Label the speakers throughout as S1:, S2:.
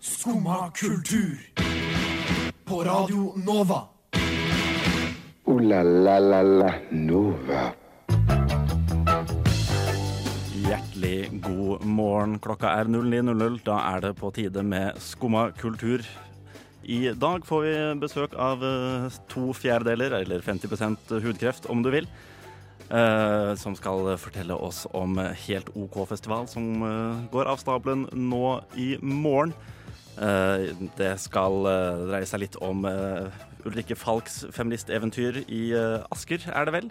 S1: Skumma kultur. På Radio Nova.
S2: Ooh la la la la Nova.
S3: Hjertelig god morgen. Klokka er 09.00. Da er det på tide med Skumma kultur. I dag får vi besøk av eh, to fjerdedeler, eller 50 hudkreft om du vil, eh, som skal fortelle oss om Helt OK-festival, som eh, går av stabelen nå i morgen. Eh, Det skal eh, dreie seg litt om eh, Ulrikke Falks feministeventyr i eh, Asker, er det vel?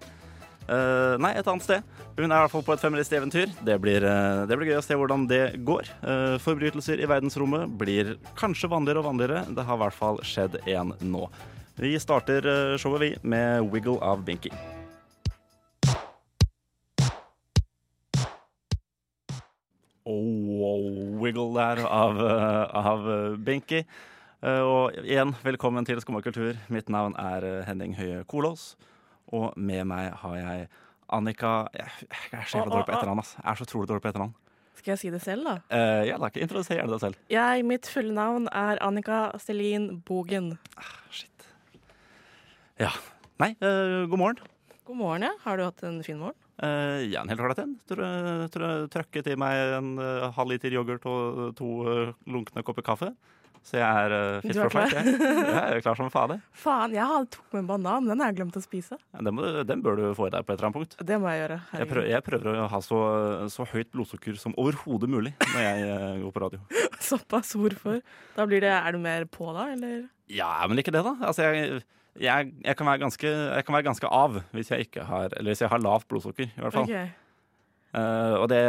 S3: Eh, nei, et annet sted. Hun er i hvert fall på et feministeventyr. Det, blir, eh, det blir gøy å se hvordan det går. Eh, forbrytelser i verdensrommet blir kanskje vanligere og vanligere. Det har i hvert fall skjedd en nå. Vi starter eh, showet, vi, med Wiggle av Binky. Oh, oh, wiggle der av, eh, av eh, Binky. Eh, og igjen, velkommen til Skumma kultur. Mitt navn er eh, Henning Høie Kolås. Og med meg har jeg Annika Jeg, jeg er så jævla dårlig på etternavn. ass. Jeg er så trolig dårlig på etternavn.
S4: Skal jeg si det selv, da?
S3: Uh, ja, da ikke introduser gjerne deg selv.
S4: Jeg, mitt fulle navn er Annika Celine Bogen.
S3: Shit. Ja. Nei, eh, god morgen.
S4: God morgen, ja. Har du hatt en fin morgen?
S3: Eh, ja, en helt ålreit en. Tror jeg- tror jeg Trøkket i meg en eh, halv liter yoghurt og to eh, lunkne kopper kaffe. Så jeg er uh, fit
S4: Du
S3: for
S4: er klar.
S3: fight. Jeg. jeg er klar som faen. jeg.
S4: Faen, jeg har- tok med en banan. Den har jeg glemt å spise.
S3: Ja, Den, må du- den bør du få i deg på et eller annet punkt.
S4: Det må jeg gjøre.
S3: Jeg prøver, jeg prøver å ha så, så høyt blodsukker som overhodet mulig når jeg eh, går på radio.
S4: Såpass hvorfor. Da blir det Er du mer på da, eller?
S3: Ja, men ikke det, da. Altså, jeg, jeg, jeg, kan være ganske, jeg kan være ganske av hvis jeg, ikke har, eller hvis jeg har lavt blodsukker. i hvert fall.
S4: Ok.
S3: Eh, og det,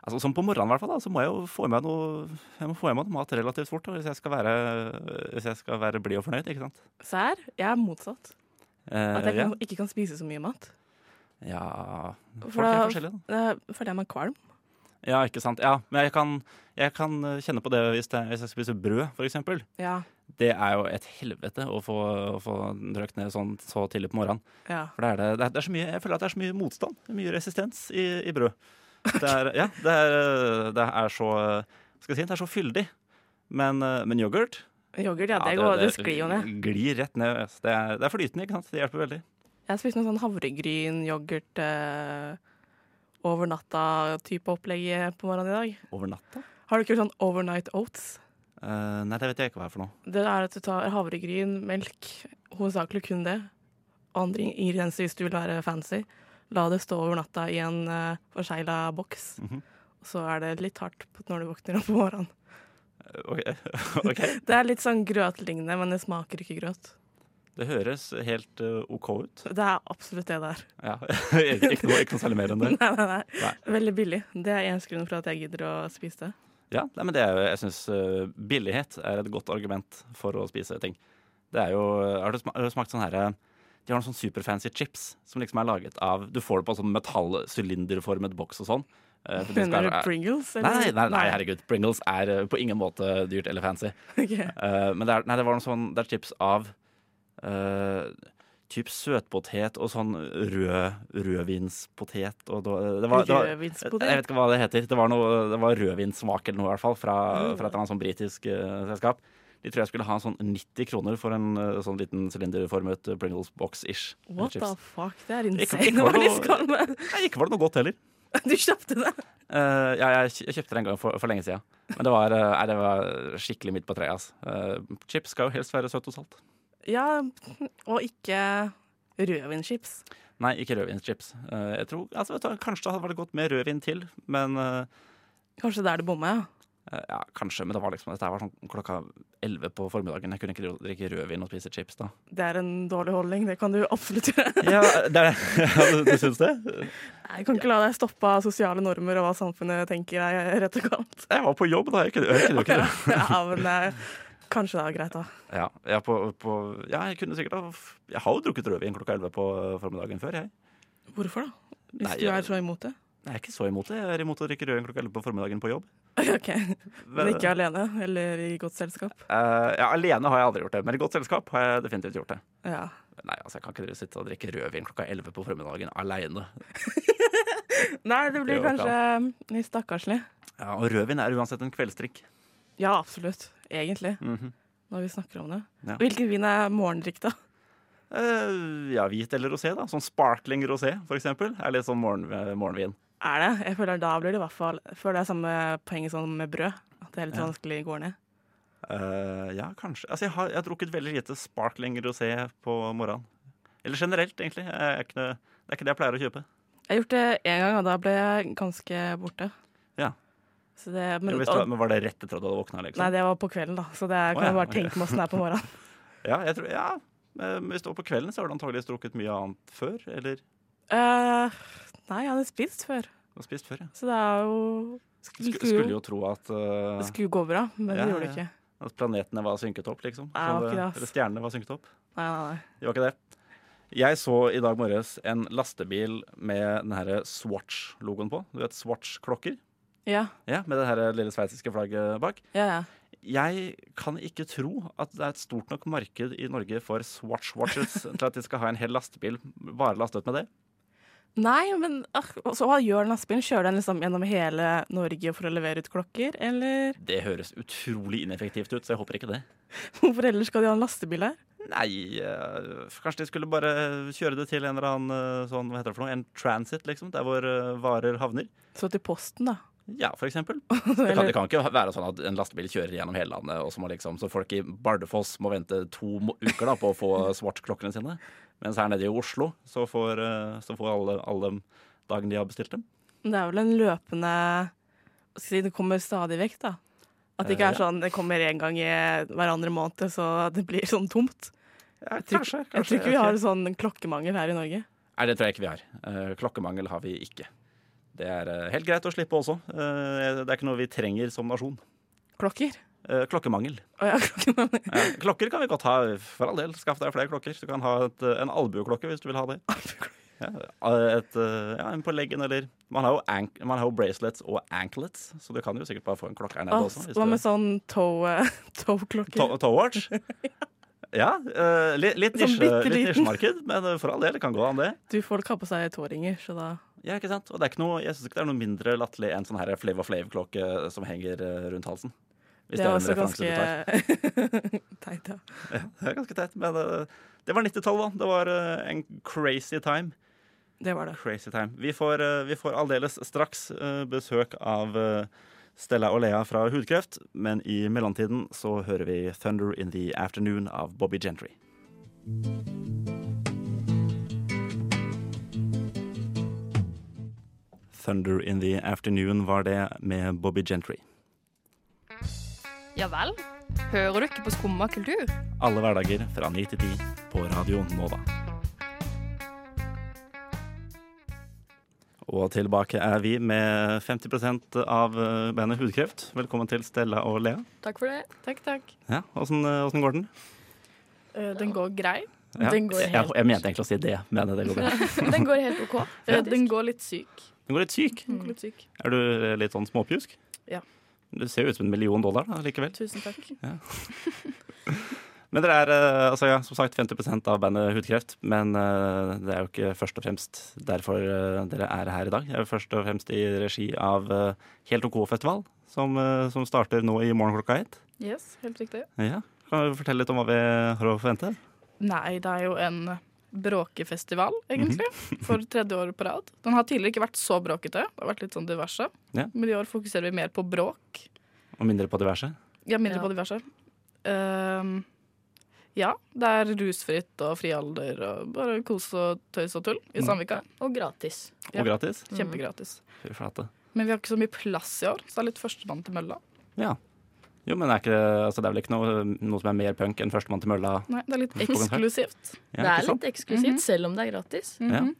S3: altså, sånn på morgenen i hvert fall, da, så må jeg jo få i meg noe, jeg må få i meg noe mat relativt fort da, hvis jeg skal være, hvis jeg skal være blid og fornøyd. ikke sant?
S4: Sær? Jeg er motsatt.
S3: Eh,
S4: At jeg
S3: ja.
S4: kan, ikke kan spise så mye mat.
S3: ja, folk
S4: For
S3: er
S4: da
S3: forskjellige. da.
S4: da føler jeg meg kvalm.
S3: Ja, ikke sant. Ja, men jeg kan, jeg kan kjenne på det hvis, det, hvis jeg spiser brød, f.eks.
S4: Ja.
S3: Det er jo et helvete å få, å få drøkt ned sånn så tidlig på morgenen.
S4: ja.
S3: For det er det, det er, det er så mye, jeg føler at det er så mye motstand, mye resistens i, i brød. Det er, ja, det er, det er så Skal jeg si, det er så fyldig. Men, eh, men yoghurt
S4: Yoghurt, ja.
S3: ja,
S4: Det, går, det sklir jo ned.
S3: Glir rett ned. altså. Det er, det er flytende, ikke sant. Det hjelper veldig.
S4: Jeg spiste noen sånn havregryn-yoghurt eh, over natta-type opplegg eh, på morgenen i dag.
S3: Over natta?
S4: Har du ikke gjort sånn overnight oats?
S3: Eh, nei, det vet jeg ikke hva er for noe.
S4: Det er at du tar havregryn, melk, hovedsakelig kun det. Og andre ingredienser hvis du vil være fancy. La det stå over natta i en uh, forsegla boks.
S3: Mhm.
S4: Og Så er det litt hardt på- når du våkner opp om morgenen.
S3: Eh, Ok, ok.
S4: Det er litt sånn grøtlignende, men det smaker ikke grøt.
S3: Det høres helt eh, OK ut.
S4: Det er absolutt det det er.
S3: Ja. ikke, ikke, noe, ikke noe særlig mer enn det.
S4: Nei, nei, nei.
S3: Nei.
S4: Veldig billig. Det er eneste grunnen for at jeg gidder å spise det.
S3: Ja, nei, men det er, jo- jeg syns billighet er et godt argument for å spise ting. Det er jo Har du sma- har du smakt sånn herre De har noen sånn superfancy chips som liksom er laget av Du får det på en sånn metallsylinderformet boks og sånn. Eh, for det skal
S4: Mener du
S3: være-
S4: Pringles? eller?
S3: Nei, nei, nei, herregud. Pringles er eh, på ingen måte dyrt eller fancy.
S4: Ok.
S3: Eh, men det er, nei, det var noe sånn Det er chips av eh, Typ søtpotet og sånn rød Rødvinspotet og da, eh, det var, det var,
S4: Rødvinspotet?
S3: Jeg vet ikke hva det heter Det var, noe, det var rødvinsmak eller noe i hvert fall Fra,
S4: Mm.
S3: fra et eller annet sånn britisk eh, selskap De tror jeg skulle ha en sånn 90 kroner For en eh, sånn liten sylinderformet eh, Pringles box-ish eh,
S4: What the
S3: chips.
S4: fuck? Det er
S3: Ikke-
S4: insane
S3: ikke
S4: hva
S3: var
S4: de
S3: noe-
S4: skal med.
S3: Nei, ikke var det noe godt heller
S4: Du kjøpte det?
S3: Eh, ja, jeg kj- jeg kjøpte det en gang for, for lenge siden Men det var, eh, nei, det var skikkelig midt på treet ass. Eh, Chips skal jo helst være søtt og salt
S4: Ja, og ikke rødvinschips.
S3: Nei, ikke rødvinschips. Eh, jeg tror, altså, vet du, hva, kanskje det hadde vært godt med rødvin til, men eh,
S4: Kanskje der det bomma, ja.
S3: eh, Ja, kanskje, men det var liksom dette her var sånn klokka elleve på formiddagen. Jeg kunne ikke drikke rødvin og spise chips da.
S4: Det er en dårlig holdning, det kan du absolutt gjøre.
S3: Ja, det er, du, du syns det?
S4: Jeg kan ikke la deg stoppe av sosiale normer og hva samfunnet tenker er rett og galt.
S3: Jeg var på jobb da, jeg kunne, jeg kunne jo ikke det.
S4: Ja, men eh, kanskje det er greit, da.
S3: Ja, jeg, på, på, ja, jeg kunne sikkert ha Jeg har jo drukket rødvin klokka elleve på eh, formiddagen før, jeg.
S4: Hvorfor da? Hvis
S3: Nei,
S4: du
S3: jeg-
S4: er så imot det?
S3: Jeg er ikke så imot det. Jeg er imot å drikke rødvin klokka elleve på formiddagen på jobb.
S4: OK. Men
S3: Men-
S4: ikke alene, eller i godt selskap?
S3: Eh, ja, alene har jeg aldri gjort det, men i godt selskap har jeg definitivt gjort det.
S4: Ja.
S3: Nei, altså, jeg kan ikke drive- sitte og drikke rødvin klokka elleve på formiddagen aleine.
S4: Nei, det
S3: Det går
S4: blir
S3: ikke
S4: kanskje mm, litt stakkarslig.
S3: Ja, og rødvin er uansett en kveldsdrikk.
S4: Ja, absolutt. Egentlig,
S3: Mhm.
S4: når vi snakker om det.
S3: Ja.
S4: Hvilken vin er morgendrikk, da?
S3: Eh, ja, hvit eller rosé, da. Sånn sparkling rosé, for eksempel. Er litt sånn morgen, eh, morgenvin.
S4: Er det? Jeg føler Da blir det i hvert fall Før det er samme poeng som med brød. At det er litt
S3: Ja.
S4: vanskelig går ned.
S3: Eh, ja, kanskje. Altså, jeg har, jeg har drukket veldig lite sparkling rosé på morgenen. Eller generelt, egentlig. Jeg er ikke, noe- det er ikke det jeg pleier å kjøpe.
S4: Jeg har gjort det én gang, og da ble jeg ganske borte.
S3: Ja.
S4: Så det, men,
S3: Men, hvis du,
S4: og,
S3: men Var det rett etter at du hadde våkna? Liksom?
S4: nei, det var på kvelden, da, så det er- kan
S3: Å,
S4: jeg
S3: ja,
S4: bare
S3: ok.
S4: tenke meg åssen det er på morgenen.
S3: Ja, jeg tror, ja. Eh, men Hvis det var på kvelden, så har du antageligvis drukket mye annet før. Eller
S4: Eh, nei, jeg hadde spist før,
S3: og spist før, ja.
S4: så det er jo
S3: Sk-
S4: Skulle,
S3: Skulle
S4: jo,
S3: jo tro at,
S4: det
S3: eh,
S4: skulle gå bra, men
S3: Ja,
S4: det gjorde det
S3: ja.
S4: ikke.
S3: at planetene var synket opp, liksom.
S4: Nei, det var
S3: Så
S4: ikke det, ass.
S3: eller stjernene var synket opp.
S4: Nei, nei, nei.
S3: Det var ikke det. Jeg så i dag morges en lastebil med den her Swatch-logoen på. Du vet Swatch-klokker?
S4: Ja,
S3: Ja, Med det her lille sveitsiske flagget bak.
S4: ja, ja.
S3: Jeg kan ikke tro at det er et stort nok marked i Norge for Swatch-watches til at de skal ha en hel lastebil bare lastet med det.
S4: Nei, men ah, så hva gjør den lastebilen? Kjører den liksom gjennom hele Norge for å levere ut klokker, eller
S3: Det høres utrolig ineffektivt ut, så jeg håper ikke det.
S4: hvorfor ellers skal de ha en lastebil her?
S3: Nei, eh, kanskje de skulle bare kjøre det til en eller annen eh, sånn, hva heter det for noe, en transit, liksom, der hvor eh, varer havner.
S4: Så til Posten, da.
S3: Ja, for eksempel. Det kan, det kan ikke være sånn at en lastebil kjører gjennom hele landet, og så, må liksom, så folk i Bardufoss må vente to må- uker da, på å få Swatch-klokkene sine. Mens her nede i Oslo så får, eh, så får alle, alle dagen de har bestilt dem.
S4: Men det er vel en løpende hva skal jeg si, Det kommer stadig vekk, da. At det ikke
S3: Eh,
S4: er sånn det kommer én gang i hver andre måned, så det blir sånn tomt.
S3: Ja,
S4: Jeg tror- Jeg tror ikke vi har sånn klokkemangel her i Norge.
S3: Nei, det tror jeg ikke vi har. Eh, Klokkemangel har vi ikke. Det er eh, helt greit å slippe også. Eh, Det er ikke noe vi trenger som nasjon.
S4: Klokker.
S3: Eh, Klokkemangel.
S4: Å ja, klokkemangel.
S3: Ja, klokker kan vi godt ha. For all del, skaff deg flere klokker. Du kan ha et, eh, en albueklokke hvis du vil ha det. Ja, et, eh, ja, en på leggen eller man har, jo ank man har jo bracelets og anklets, så du kan jo sikkert bare få en klokke her nede
S4: Å,
S3: også. hvis
S4: Hva
S3: du-
S4: med sånn toe- toe-klokker?
S3: To- Towwatch? Ja, eh, li litt, nisje,
S4: Sånn bitte
S3: litt
S4: liten.
S3: nisjemarked, men eh, for all del, det kan gå an det.
S4: Du, folk har på seg tåringer, så da
S3: Ja, ikke sant? Og det er ikke noe, jeg syns ikke det er noe mindre latterlig enn sånn her Flav og Flav-klokke som henger eh, rundt halsen. Hvis
S4: Det er
S3: en
S4: også
S3: referanse du tar.
S4: ganske teit, ja.
S3: Det er ganske teit, men eh, det var 90-tallet, da. Det var eh, en crazy time.
S4: Det var det.
S3: Crazy time. Vi får, eh, vi får aldeles straks eh, besøk av eh, Stella og Lea fra Hudkreft, men i mellomtiden så hører vi 'Thunder In The Afternoon' av Bobby Gentry. Thunder in the afternoon var det med Bobby Gentry.
S5: Ja vel? Hører du ikke på Skumma kultur?
S3: Alle hverdager fra 9 til 10 på Radio Nova. Og tilbake er vi med 50 av eh, bandet Hudkreft. Velkommen til Stella og Lea.
S5: Takk for det.
S6: Takk, takk.
S3: Ja, Åssen åssen går den?
S6: Eh, Den går grei.
S3: Ja,
S6: Den går
S3: jeg,
S6: helt-
S3: jeg mente egentlig å si det, men det går bra.
S6: Den går helt OK. Eh,
S3: Ja.
S6: Den går litt syk.
S3: Den går litt syk.
S4: Mm.
S6: Den går litt syk.
S3: Er du litt sånn småpjusk?
S6: Ja.
S3: Du ser jo ut som en million dollar da, likevel.
S6: Tusen takk.
S3: Men dere er eh, altså, ja, som sagt 50 av bandet Hudkreft. Men eh, det er jo ikke først og fremst derfor eh, dere er her i dag. Det er jo først og fremst i regi av eh, Helt OK-festival, som, eh, som starter nå i morgen klokka ett.
S6: Yes, helt riktig.
S3: Ja. Kan du fortelle litt om hva vi har å forvente?
S6: Nei, det er jo en bråkefestival, egentlig, for tredje år på rad. Den har tidligere ikke vært så bråkete. Det har vært litt sånn diverse.
S3: Ja.
S6: Men i år fokuserer vi mer på bråk.
S3: Og mindre på diverse?
S6: Ja, mindre
S5: Ja.
S6: på diverse. Ehm, ja, det er rusfritt og fri alder og bare kos og tøys og tull i Sandvika.
S5: Og gratis.
S3: Og
S6: Ja.
S3: gratis?
S4: Mm.
S6: Kjempegratis.
S3: Fy flate.
S6: Men vi har ikke så mye plass i år, så det er litt førstemann til mølla.
S3: Ja. Jo, men er ikke, altså, det er vel ikke noe, noe som er mer punk enn Førstemann til mølla?
S6: Nei, det er litt
S3: På konsert.
S6: eksklusivt.
S3: Ja,
S5: det
S3: ikke
S5: er
S3: sant?
S5: litt eksklusivt, selv om det er gratis.
S6: Mhm.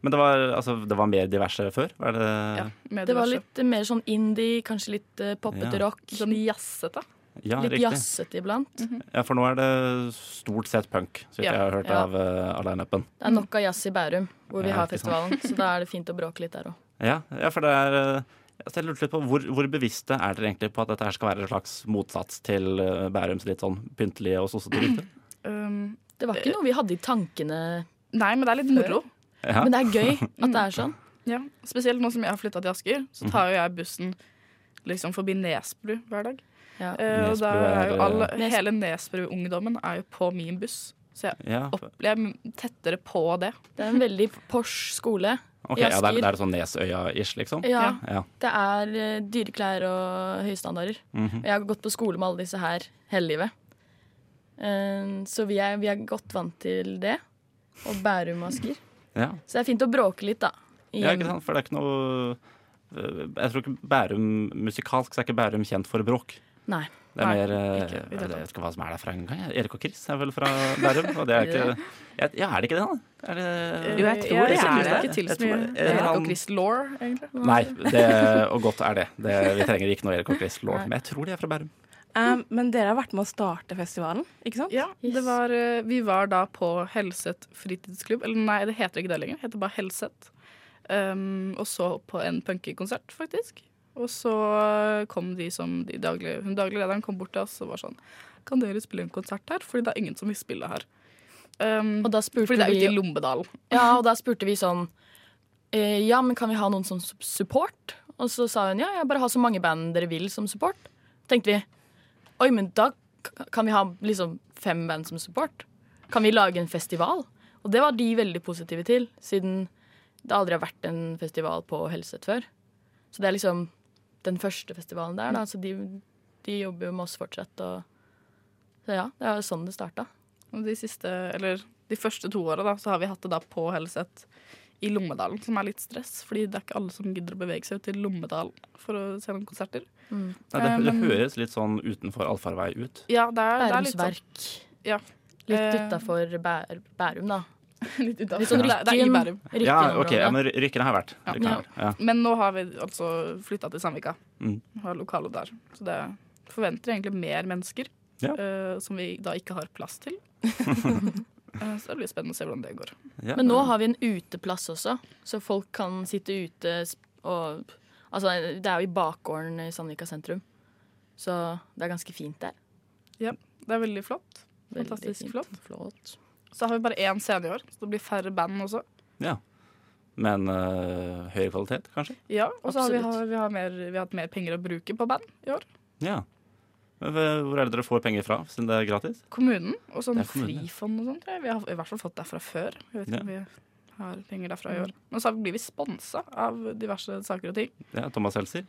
S3: Men det var, altså, det var mer diverse før? Var det,
S6: Ja, med
S5: Det var
S6: diverse.
S5: litt mer sånn indie, kanskje litt eh, poppete
S3: Ja.
S5: rock.
S6: sånn jazzete.
S3: Ja,
S5: litt
S3: riktig.
S5: jazzete iblant.
S3: Ja, for nå er det stort sett punk, så vidt
S6: Ja,
S3: jeg har hørt
S5: ja.
S3: av, eh, av lineupen.
S5: Det er nok av jazz i Bærum, hvor vi
S3: Ja,
S5: har
S3: ikke sant.
S5: festivalen. Så da er det fint å bråke litt der òg.
S3: Ja, ja, for det er eh, altså, Jeg lurte litt på hvor, hvor bevisste er dere egentlig på at dette her skal være en slags motsats til eh, Bærums litt sånn pyntelige og sossete rykte?
S6: Um,
S5: Det var ikke noe vi hadde i tankene.
S6: nei, men det er litt moro.
S3: Ja.
S5: Men det er gøy at det er sånn.
S3: Mhm.
S6: Ja. Spesielt nå som jeg har flytta til Asker, så tar jo jeg bussen liksom forbi Nesbru hver dag.
S5: Ja.
S6: Eh, og da
S3: Nesbru er,
S6: er jo alle,
S4: eh,
S5: Nes-
S6: hele Nesbru-ungdommen er jo på min buss, så jeg
S3: Ja.
S6: opplever tettere på det.
S5: Det er en veldig Porsche skole.
S3: Ok,
S5: i
S3: ja, det er,
S5: Asker.
S3: det er sånn Nesøya-ish, liksom?
S5: Ja,
S3: Ja.
S5: det er eh, dyre klær og høystandarder. Og Jeg har gått på skole med alle disse her hele livet. Eh, Så vi er, vi er godt vant til det. Og Bærum og Asker.
S3: ja.
S5: Så det er fint å bråke litt, da. i
S3: Ja,
S5: hjemmet.
S3: ikke sant? For det er ikke noe eh, Jeg tror ikke Bærum musikalsk så er ikke Bærum kjent for bråk.
S5: Nei.
S3: Det er
S6: Nei,
S3: mer eh,
S6: ikke i det
S3: Jeg
S6: hele
S3: vet ikke hva som er der fra en gang. jeg. Erik og Chris er vel fra Bærum. Og det er ikke jeg- Ja, er det ikke det, da? Er det
S4: Jo, jeg tror
S6: Eh, jeg
S4: det er
S6: kjenner
S4: det.
S6: ikke til
S3: Jeg
S6: så mye.
S3: tror det er
S6: Erik
S3: han-
S6: og Chris Law, egentlig.
S3: Nei, det, og godt er det. det. Vi trenger ikke noe Erik og Chris Lord, men jeg tror de er fra Bærum.
S4: Um, men dere har vært med å starte festivalen, ikke sant?
S6: Ja,
S5: Yes.
S6: det var, eh, vi var da på Helset fritidsklubb. Eller nei, det heter ikke det lenger. Det heter bare Helset. Um, og så på en punkekonsert, faktisk. Og så eh, kom de som de daglige, hun daglige lederen kom bort til oss og var sånn Kan dere spille en konsert her? Fordi det er ingen som vil spille her. Um,
S5: Og da spurte
S6: fordi det er
S5: vi
S6: ute i Lommedalen.
S5: Ja, og da spurte vi sånn eh, Ja, men kan vi ha noen som sup- support? Og så sa hun ja, ja, bare ha så mange band dere vil som support. Tenkte vi oi, men da k- kan vi ha liksom fem band som support. Kan vi lage en festival? Og det var de veldig positive til, siden det aldri har vært en festival på Helset før. Så det er liksom den første festivalen der, da. Så de, de jobber jo med oss fortsatt. Og, så ja, det er jo sånn det starta.
S6: Og de siste, eller de første to åra, da, så har vi hatt det da på Helset i Lommedalen, som er litt stress. Fordi det er ikke alle som gidder å bevege seg ut til Lommedalen for å se noen konserter.
S3: Nei, det,
S6: Eh,
S3: det
S6: men-
S3: høres litt sånn utenfor allfarvei ut.
S6: Ja, det er, det er
S5: Bærums
S6: litt sånn.
S5: Verk.
S6: Ja.
S5: Litt
S6: Eh,
S5: utafor Bær, Bærum, da.
S6: Litt utenfor.
S5: Litt sånn
S6: Det er- Det er i
S5: Rykken.
S6: Bærum.
S5: Rykken
S3: Ja, ok,
S5: området.
S3: ja, men Ry- Rykkene har vært.
S6: Ja.
S3: Rykkene har vært. Ja.
S6: Men nå har vi altså flytta til Sandvika.
S3: Mm.
S6: Har lokale der. Så det forventer egentlig mer mennesker.
S3: Ja.
S6: eh, som vi da ikke har plass til. Eh, så det blir spennende å se hvordan det går.
S3: Ja.
S5: Men nå har vi en uteplass også, så folk kan sitte ute sp- og Altså, det er jo i bakgården i Sandvika sentrum, så det er ganske fint der.
S6: Det er veldig flott.
S5: Veldig
S6: Fantastisk
S5: fint.
S6: flott.
S5: flott.
S6: Så har vi bare én scene i år, så det blir færre band også.
S3: Men eh, høyere kvalitet, kanskje?
S6: Ja, Og så har vi,
S5: Absolutt.
S6: har, vi, har mer, vi har hatt mer penger å bruke på band i år.
S3: Ja. Men hva- Hvor er det dere får penger fra, siden det er gratis?
S6: Kommunen og sånn
S3: Det er kommunen, ja.
S6: frifond og sånt. tror jeg. Vi har i hvert fall fått derfra før. Jeg vet
S3: Ja.
S6: ikke om vi har penger derfra i år. Men så har vi- blir vi sponsa av diverse saker og ting.
S3: Ja, Thomas Seltzer?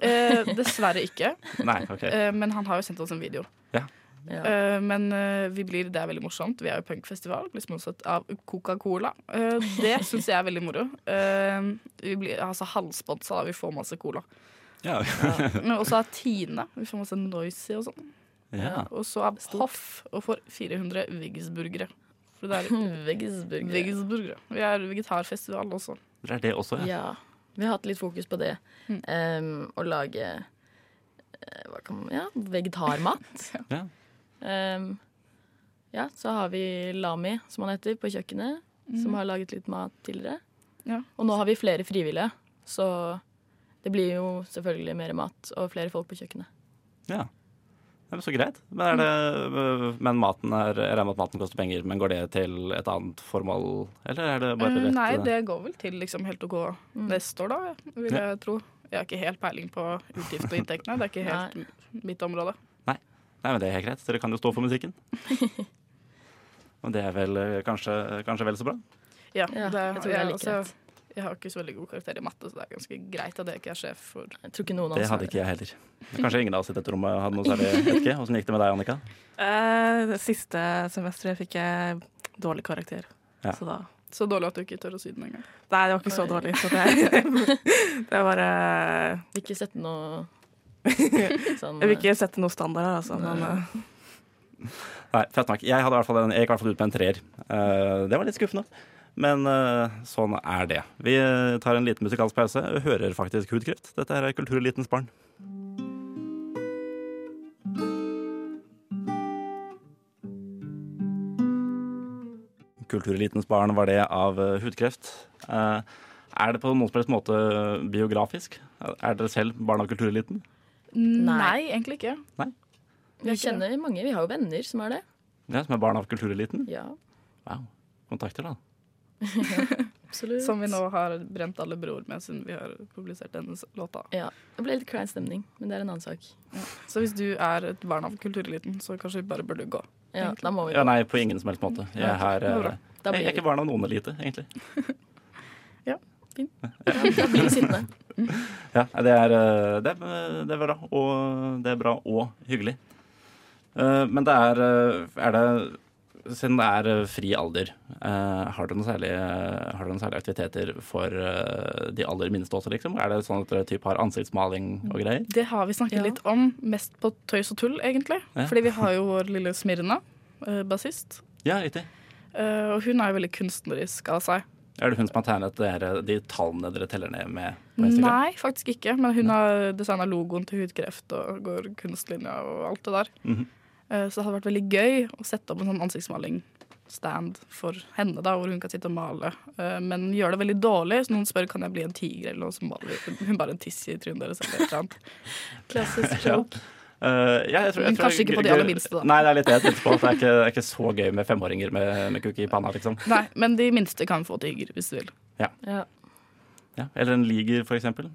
S6: Eh, dessverre ikke,
S3: Nei, ok.
S6: eh, men han har jo sendt oss en video.
S5: Ja.
S6: Eh, men eh, vi blir, det er veldig morsomt. Vi er jo punkfestival, blir sponset av Coca-Cola. Eh, det syns jeg er veldig moro. Eh, vi blir altså, halvsponsa, da. Vi får masse cola.
S3: Ja.
S6: Men også av Tine. Vi får masse Noisy og sånn.
S3: ja.
S6: Og så av Hoff, og får 400 Wiggsburgere. For det er
S5: Veggisburger.
S6: Wiggsburgere. Vi er vegetarfestival også.
S3: Det er det også, ja.
S5: Ja. Vi har hatt litt fokus på det.
S6: Mm.
S5: Em, å lage eh, hva kan man, ja, vegetarmat.
S3: Ja.
S5: Em, ja, så har vi Lami, som han heter, på kjøkkenet. Som har laget litt mat tidligere.
S6: Mm. Ja.
S5: Og nå har vi flere frivillige, så det blir jo selvfølgelig mer mat og flere folk på kjøkkenet.
S3: ja. Det er så greit. Men, er det, men maten er, jeg regner med at maten koster penger, men går det til et annet formål, eller er det bare
S6: Eh,
S3: rett
S6: Nei, det går vel til liksom helt OK
S5: Mm.
S6: neste år, da, vil jeg tro. Jeg har ikke helt peiling på utgift og inntektene. Det er ikke helt m- mitt område.
S3: Nei, men det er helt greit. Dere kan jo stå for musikken. Og det er vel eh, kanskje, kanskje vel så bra.
S6: Ja,
S5: Ja,
S6: det,
S5: jeg tror det er like greit.
S6: jeg har ikke så veldig god karakter i matte, så det er ganske greit at jeg ikke er sjef for
S5: Jeg tror ikke noen av
S3: Det
S5: oss har
S3: hadde ikke jeg heller. Kanskje ingen av oss i dette rommet hadde noe særlig vet ikke. Åssen gikk det med deg, Annika?
S4: Eh, det siste semesteret fikk jeg dårlig karakter.
S3: Ja.
S4: Så da
S6: Så dårlig at du ikke tør å si den engang.
S4: Nei, det var ikke så dårlig. Så det, det var eh,
S5: Ikke sett noe sånn
S4: Jeg vil ikke sette noen standarder, altså. Men eh,
S3: Nei, fett nok. Jeg, hadde i hvert fall en, jeg gikk i hvert fall ut med en treer. Eh, det var litt skuffende. Men eh, sånn er det. Vi eh, tar en liten musikalsk pause og hører faktisk Hudkreft. Dette her er Kulturelitens barn. Kulturelitens barn var det av eh, Hudkreft. Eh, er det på noen som helst måte eh, biografisk? Er dere selv barn av kultureliten?
S6: Nei, egentlig ikke.
S5: Vi eh, kjenner mange. Vi har jo venner som er det.
S3: Ja, som er barn av kultureliten?
S5: Ja.
S3: Wow. Kontakter, da.
S5: Absolutt.
S6: Som vi nå har brent alle broer med siden vi har publisert denne s- låta.
S5: Ja. Det ble litt klein stemning, men det er en annen sak.
S6: Så hvis du er et barn av kultureliten, så kanskje bare bør du gå.
S5: Ja, da må vi
S3: Ja, nei, på ingen som helst måte. Jeg er, her,
S6: det var bra.
S3: eh,
S5: Da
S3: jeg
S5: blir
S3: jeg er ikke
S5: vi,
S3: barn av noen elite, egentlig.
S5: da blir vi sittende.
S3: Ja, nei, det er, eh, det, er, det er bra, og det er bra og hyggelig. Eh, Men det er, eh, er det Siden det er eh, fri alder, eh, har dere noen særlige, har dere noen særlige aktiviteter for eh, de aller minste også, liksom? Er det sånn at dere typ har ansiktsmaling og greier?
S6: Det har vi snakket
S5: Ja.
S6: litt om, mest på tøys og tull, egentlig.
S3: Ja.
S6: Fordi vi har jo vår lille Smirna, eh, bassist.
S3: Ja, riktig.
S6: Eh, Og hun er jo veldig kunstnerisk av seg.
S3: Er det hun som har tegnet dere, de tallene dere teller ned med på Instagram?
S6: Nei, faktisk ikke. Men hun har designa logoen til hudkreft og går kunstlinja og alt det der.
S3: Mhm.
S6: Eh, Så det hadde vært veldig gøy å sette opp en sånn ansiktsmaling-stand for henne, da, hvor hun kan sitte og male. Eh, Men gjør det veldig dårlig, så noen spør kan jeg bli en tiger eller noe som maler hun bare en tiss i trynet deres. Eller et eller annet.
S5: Klassisk
S3: Ja.
S5: joke.
S3: Eh, ja, jeg tror, jeg
S6: Men
S3: tror
S6: kanskje ikke på de
S3: Gr-
S6: aller minste, da.
S3: Nei, det er litt det jeg tenkte på. at Det er ikke, det er ikke så gøy med femåringer med, med kuk i panna, liksom.
S6: Nei, men de minste kan få tiger hvis de vil.
S5: Ja.
S3: Ja. Eller en liger, for eksempel.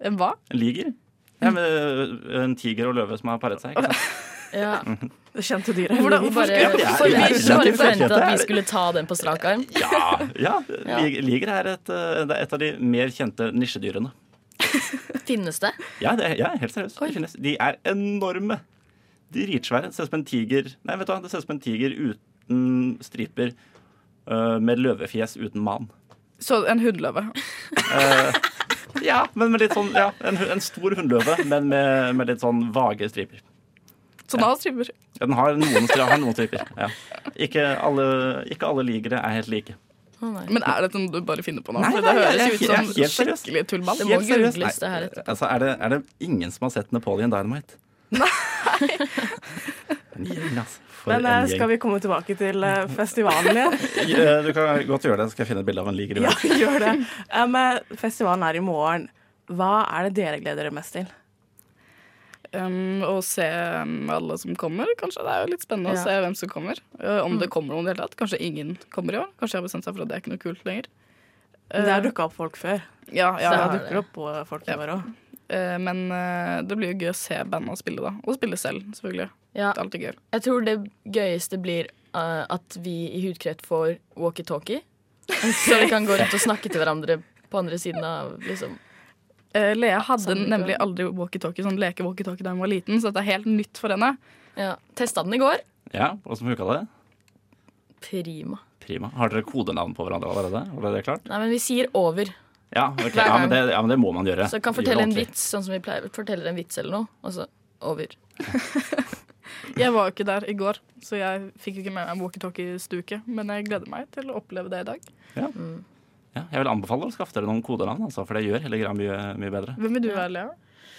S6: En hva?
S3: En liger?
S6: Mm.
S3: Ja, med øh, en tiger og løve som har paret seg. Ikke sant?
S5: Ja.
S4: Det kjente dyret.
S5: Hvordan,
S4: Liger.
S5: bare,
S3: Ja, det er-
S5: for,
S3: det er-
S5: vi
S3: det er-
S5: bare forventet at vi
S3: det er-
S5: skulle ta den på strak arm.
S3: Ja, ja.
S5: Ja.
S3: lig- Liger er et, øh, det er et av de mer kjente nisjedyrene.
S5: Finnes det?
S3: Ja, det er, ja helt seriøst.
S5: Oi.
S3: Det finnes. De er enorme. De er ritsvære. Ser ut som en tiger Nei, vet du hva, det ser ut som en tiger uten striper. øh, med løvefjes uten man.
S6: Så en hunnløve.
S3: Eh, ja, men med litt sånn ja, en, hu- en stor hunnløve, men med, med litt sånn vage striper.
S6: Sånn av stripper.
S3: Ja, Den har noen, stri- har noen striper. Ja. Ikke, alle, ikke alle ligere er helt like.
S5: Å nei.
S6: Men er det noe du bare finner på nå?
S3: Nei,
S6: For
S3: nei,
S6: det
S3: jeg-
S6: høres
S3: jeg-
S6: jo
S3: jeg-
S6: ut
S3: jeg-
S6: som skikkelig tullmann.
S5: Det må
S3: Helt seriøst,
S5: googles, det her
S3: nei,
S5: etterpå.
S3: Altså, er, det, er det ingen som har sett Napoleon Dynamite? Nei! En gjeng, altså. For
S4: Men eh,
S3: en gjeng.
S4: skal vi komme tilbake til eh, festivalen igjen?
S3: Eh, Du kan godt gjøre det, så skal jeg finne et bilde av en liger. i
S4: Ja,
S3: verden.
S4: gjør det. Um, eh, festivalen er i morgen. Hva er det dere gleder dere mest til?
S6: Um, og se um, alle som kommer, kanskje. Det er jo litt spennende
S5: Ja.
S6: å se hvem som kommer. Uh, om det kommer noen i det hele tatt. Kanskje ingen kommer i år. Kanskje jeg har bestemt seg for at det er ikke noe kult lenger. Uh,
S4: Det har dukka opp folk før.
S6: ja, ja,
S4: Så
S5: det
S4: det
S5: har
S6: ja.
S5: du-
S4: dukker opp eh, folk i år òg.
S6: Uh, men uh, det blir jo gøy å se bandet spille, da. Og spille selv, selvfølgelig.
S5: Ja,
S6: Det er alltid gøy.
S5: jeg tror det gøyeste blir eh, at vi i hudkreft får walkietalkie. Så vi kan gå rundt og snakke til hverandre på andre siden av liksom
S6: Uh, Lea hadde
S5: Sannelig.
S6: nemlig aldri walkietalkie, sånn leke-walkietalkie da hun var liten, så dette er helt nytt for henne.
S5: Ja. Testa den i går.
S3: Ja, Åssen funka det?
S5: Prima.
S3: Prima. Har dere kodenavn på hverandre allerede? Var det klart?
S5: Nei, men vi sier over.
S3: Ja, ok.
S5: Hver
S3: ja,
S5: gang.
S3: men det, ja, men det må man gjøre.
S5: Så jeg kan
S3: Gjør det
S5: fortelle en
S3: ordentlig.
S5: vits, sånn som vi pleier. Forteller en vits eller noe, og så over.
S6: Jeg var jo ikke der i går, så jeg fikk ikke med meg walkietalkie-stuket. Men jeg gleder meg til å oppleve det i dag.
S3: Ja, jeg vil anbefale å skaffe dere noen kodenavn, altså, for det gjør hele greia mye, mye bedre.
S6: Hvem vil du være, Lea?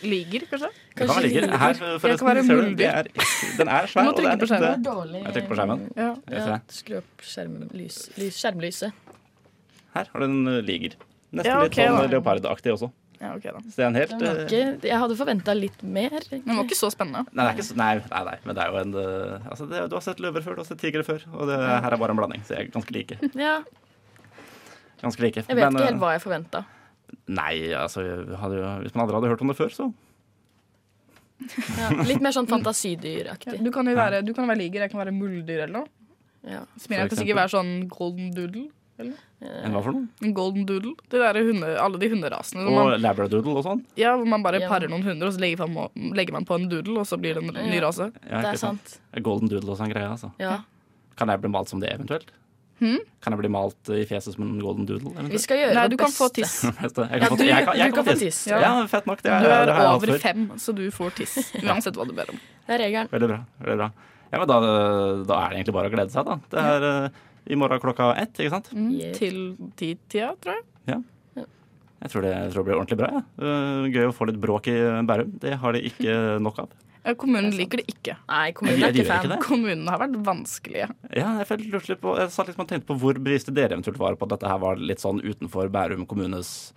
S6: Liger, kanskje?
S3: Det kan
S5: Kanskje
S3: være ligger.
S5: ligger.
S3: Her,
S6: Jeg kan være
S3: forresten, ser du,
S6: muldyr.
S3: det er, den er svær.
S6: Du må
S3: og det er
S6: trykke på skjermen.
S3: litt,
S5: Dårlig
S3: Jeg trykker på skjermen.
S6: Ja.
S3: eh, jeg ser
S5: Ja,
S3: det.
S5: skru opp skjermlys, lys, skjermlyset.
S3: Her har du en eh, liger. Nesten
S6: Ja, ok,
S3: litt sånn
S6: da.
S3: leopardaktig også.
S6: ja, ok da.
S3: Så det er en helt
S5: Den var
S3: eh,
S5: ikke, jeg hadde forventa litt mer.
S6: Men det var ikke så spennende.
S3: Nei, det er ikke, så- nei, nei, nei, men det er jo en eh, altså det, Du har sett løver før, du har sett tigre før, og det her er bare en blanding. Så jeg er ganske like.
S5: Ja,
S3: Ganske like.
S5: jeg vet
S3: Men,
S5: ikke
S3: eh,
S5: helt hva jeg forventa.
S3: Nei, altså jeg hadde, jo- Hvis man aldri hadde hørt om det før, så
S5: Ja, litt mer sånn fantasidyraktig.
S6: Du kan jo være, du kan være liger, jeg kan være muldyr eller noe.
S5: Ja.
S6: Smil, jeg
S3: For
S6: kan sikkert være sånn golden doodle.
S3: enn hva for noe?
S6: En golden doodle. Det der er hunde, alle de hunderasene. Hvor man,
S3: Og labradoodle og sånn.
S6: ja, hvor man bare
S5: Ja.
S6: parer noen hunder, og så legger man, legger man på en doodle, og så blir det en ny
S5: Ja.
S6: rase.
S3: Ja,
S5: Det
S3: ikke
S5: er sant.
S3: Golden doodle og sånn greie, altså.
S5: Ja.
S3: Kan jeg bli malt som det, eventuelt? Kan jeg bli malt i fjeset som en golden doodle?
S5: Vi
S3: eventuelt?
S5: skal gjøre
S6: Nei,
S5: vårt
S6: du kan få
S5: beste.
S6: tiss.
S3: Jeg kan
S5: Ja,
S3: få-
S5: du-
S3: jeg kan- jeg
S5: du
S3: kan få tiss. Ja. fett nok. Det er,
S6: Du er
S3: det har jeg
S6: over
S3: alt for.
S6: fem, så du får tiss. Uansett hva du ber om.
S5: Det er regelen.
S3: Veldig bra. veldig bra. Ja, men da, da er det egentlig bare å glede seg, da. Det er eh, i morgen klokka ett, ikke sant?
S6: Mm,
S5: Yeah.
S6: Til ti-tida, tror jeg.
S3: Jeg tror det, jeg tror det blir ordentlig bra. Ja. Eh, gøy å få litt bråk i Bærum. Det har de ikke nok av.
S6: Ja, Kommunen liker det ikke.
S5: Nei, kommunen
S3: Jeg
S5: er ikke
S3: liker ikke
S5: fan.
S3: det.
S6: Kommunene har vært vanskelige.
S3: Ja, jeg, følte- lurte litt på, jeg satt liksom og tenkte på hvor bevisste dere eventuelt var på at dette her var litt sånn utenfor Bærum kommunes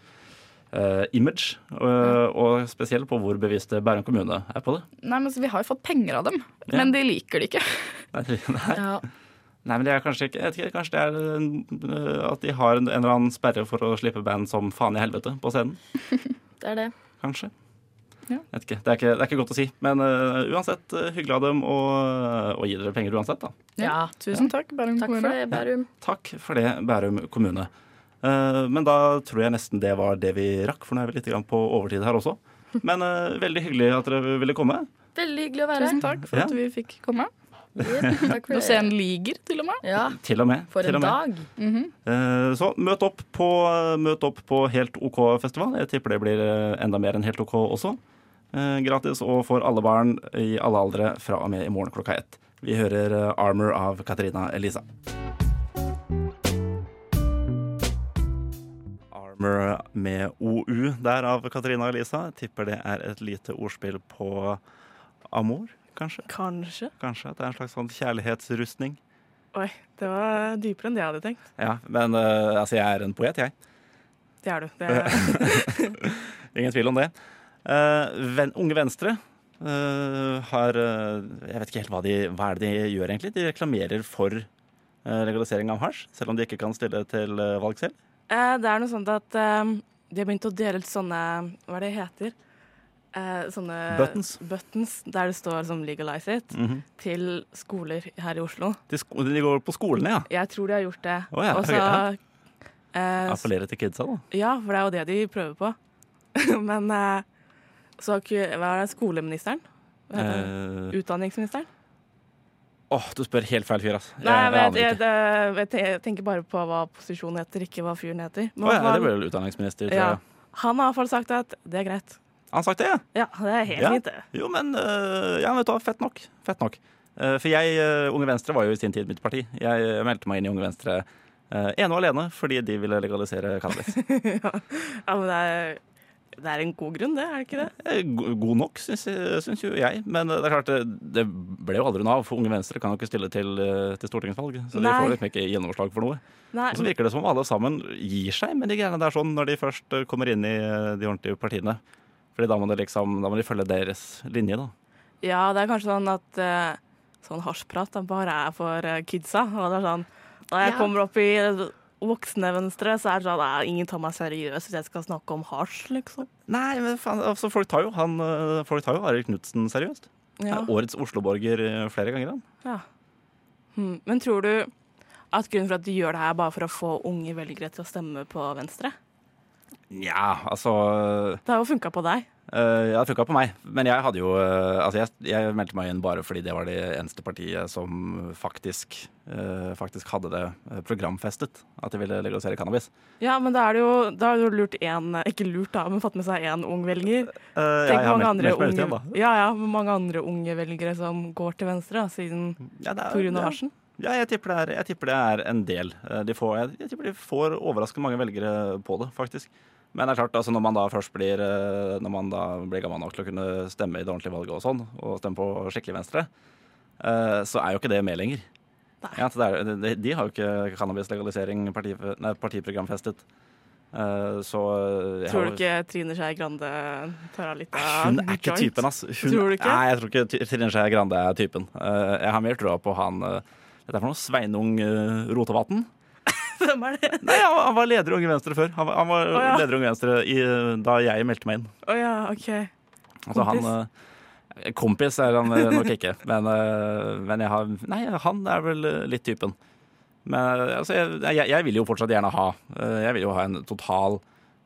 S3: eh, image, og, og spesielt på hvor bevisste Bærum kommune er på det.
S6: Nei, men så Vi har jo fått penger av dem,
S3: Ja.
S6: men de liker det ikke.
S3: Nei, nei.
S5: Ja.
S3: Nei, men det er kanskje ikke jeg vet ikke, Kanskje det er en- øh, at de har en, en eller annen sperre for å slippe band som faen i helvete på scenen.
S5: Det er det.
S3: Kanskje.
S6: Ja.
S3: Jeg vet ikke. Det, er ikke. det er ikke godt å si. Men øh, uansett, øh, hyggelig av dem å å gi dere penger uansett, da.
S5: Ja.
S6: Tusen takk, Bærum
S5: Takk for
S6: kommune.
S5: det, Bærum.
S3: Takk for det, Bærum kommune. Eh, men da tror jeg nesten det var det vi rakk, for nå er vi litt grann på overtid her også. Men eh, veldig hyggelig at dere ville komme.
S5: Veldig hyggelig å være
S6: Tusen
S5: her.
S6: takk for at vi fikk komme.
S5: Ja, takk for det.
S6: Dosen liger, til og med.
S5: Ja,
S3: Til og med.
S5: for
S3: til
S5: en
S3: og med.
S5: dag.
S3: Eh, så møt opp, på, møt opp på Helt OK-festival. Jeg tipper det blir eh, enda mer enn Helt OK også. Eh, gratis og for alle barn i alle aldre fra og med i morgen klokka ett. Vi hører eh, Armor av Katarina Elisa. Armor med OU der av Katarina Elisa. Jeg Tipper det er et lite ordspill på amor, kanskje?
S4: Kanskje.
S3: Kanskje at det er en slags sånn kjærlighetsrustning?
S4: Oi, det var dypere enn det jeg hadde tenkt.
S3: Ja, men eh, altså, jeg er en poet, jeg.
S4: Det er du. Det er,
S3: Ingen tvil om det. Eh, Ven, unge Venstre eh, har eh, Jeg vet ikke helt hva, de, hva er det de gjør, egentlig. De reklamerer for eh, legalisering av hasj, selv om de ikke kan stille til eh, valg selv.
S4: Eh, det er noe sånt at eh, de har begynt å dele ut sånne Hva er det det heter? Eh, sånne
S3: Buttons.
S4: buttons der det står som 'legalize it'
S3: Mhm.
S4: til skoler her i Oslo.
S3: de, sko de går på skolene, ja.
S4: Jeg tror de har gjort det.
S3: Å ja,
S4: Og så
S3: ok,
S4: eh, s-
S3: Appellerer til kidsa, da.
S4: Ja, for det er jo det de prøver på. Men eh, så har ikke Hva er det? Skoleministeren? Hva heter han?
S3: Eh, Åh,
S4: Utdanningsministeren?
S3: du spør helt feil fyr, altså.
S4: Nei, jeg, vet,
S3: aner
S4: jeg,
S3: ikke.
S4: det- jeg tenker bare på hva posisjonen heter, ikke hva fyren heter. Men
S3: Å ja,
S4: han-
S3: det blir vel utdanningsminister, tror
S4: ja,
S3: jeg.
S4: han har i hvert fall sagt at det er greit.
S3: Han sagt det, ja?
S4: Ja, det er helt
S3: Ja.
S4: fint, det.
S3: Jo, men øh, ja, vet du hva, fett nok. Fett nok. Eh, for jeg, øh, Unge Venstre var jo i sin tid mitt parti. Jeg øh, meldte meg inn i Unge Venstre eh, ene og alene fordi de ville legalisere cannabis.
S4: Ja, men det er, det er en god grunn, det, er det ikke det?
S3: Eh, go- God nok, syns, syns jo jeg. Men eh, det er klart, det, det ble jo aldri noe av, for Unge Venstre kan jo ikke stille til, eh, til stortingsvalg. Så de
S4: Nei.
S3: får liksom ikke gjennomslag for noe.
S4: Nei,
S3: Og så virker det som om alle sammen gir seg med de greiene der sånn når de først eh, kommer inn i eh, de ordentlige partiene. Fordi da må, det liksom, da må de følge deres linje, da.
S4: ja, det er kanskje sånn at eh, sånn hasjprat da bare er for eh, kidsa. Og det er sånn, når jeg
S5: Ja.
S4: kommer opp i voksne venstre, så er det sånn at ingen tar meg seriøst hvis jeg skal snakke om hasj, liksom.
S3: Nei, men faen, altså, folk tar jo han eh, Folk tar jo Arild Knutsen seriøst.
S4: Ja.
S3: Er årets Osloborger eh, flere ganger, han.
S4: ja. Hm. Men tror du at grunnen for at de gjør det her, er bare for å få unge velgere til å stemme på Venstre?
S3: Nja, altså
S4: Det har jo funka på deg.
S3: eh, Ja, det funka på meg. Men jeg hadde jo eh, Altså, jeg, jeg meldte meg inn bare fordi det var det eneste partiet som faktisk eh, Faktisk hadde det eh, programfestet. At de ville legalisere cannabis.
S4: Ja, men da er det jo, da er det jo lurt én Ikke lurt, da, men fått med seg én ung velger.
S3: Eh,
S4: Tenk
S3: jeg har
S4: hvor mange
S3: meldt-
S4: andre,
S3: meldt meg ut igjen,
S4: unge, ja, ja, hvor mange andre unge velgere som går til venstre da, siden
S3: da. Ja, det er-
S4: pga.
S3: ja.
S4: hasjen.
S3: Ja, jeg tipper, det er, jeg tipper det er en del. Eh, De får, jeg, jeg tipper de får overraskende mange velgere på det, faktisk. Men det er klart, altså, når man da først blir, eh, når man da blir gammel nok til å kunne stemme i det ordentlige valget og sånn, og stemme på skikkelig venstre, eh, så er jo ikke det med lenger.
S4: Nei.
S3: Ja, så det er, de, de har jo ikke cannabislegalisering parti, nei, partiprogramfestet. Eh, så jeg
S4: Tror
S3: har-
S4: du ikke Trine Skei Grande tar av litt av
S3: hun er ikke typen, ass. Hun,
S4: Tror du ikke?
S3: Nei, jeg tror ikke Ty- Trine Skei Grande er typen. Eh, jeg har mer troa på han eh, Dette er for noe Sveinung eh, Rotevatn.
S4: Hvem er det?
S3: Nei, han, han var leder i Unge Venstre før. Han var, han var
S4: Å, ja.
S3: leder i Unge Venstre i, da jeg meldte meg inn.
S4: Å ja, OK.
S3: Altså, han,
S4: Kompis?
S3: eh, kompis er han eh, nok ikke, men, eh, men jeg har Nei, han er vel eh, litt typen. Men eh, altså, jeg, jeg, jeg vil jo fortsatt gjerne ha eh, Jeg vil jo ha en total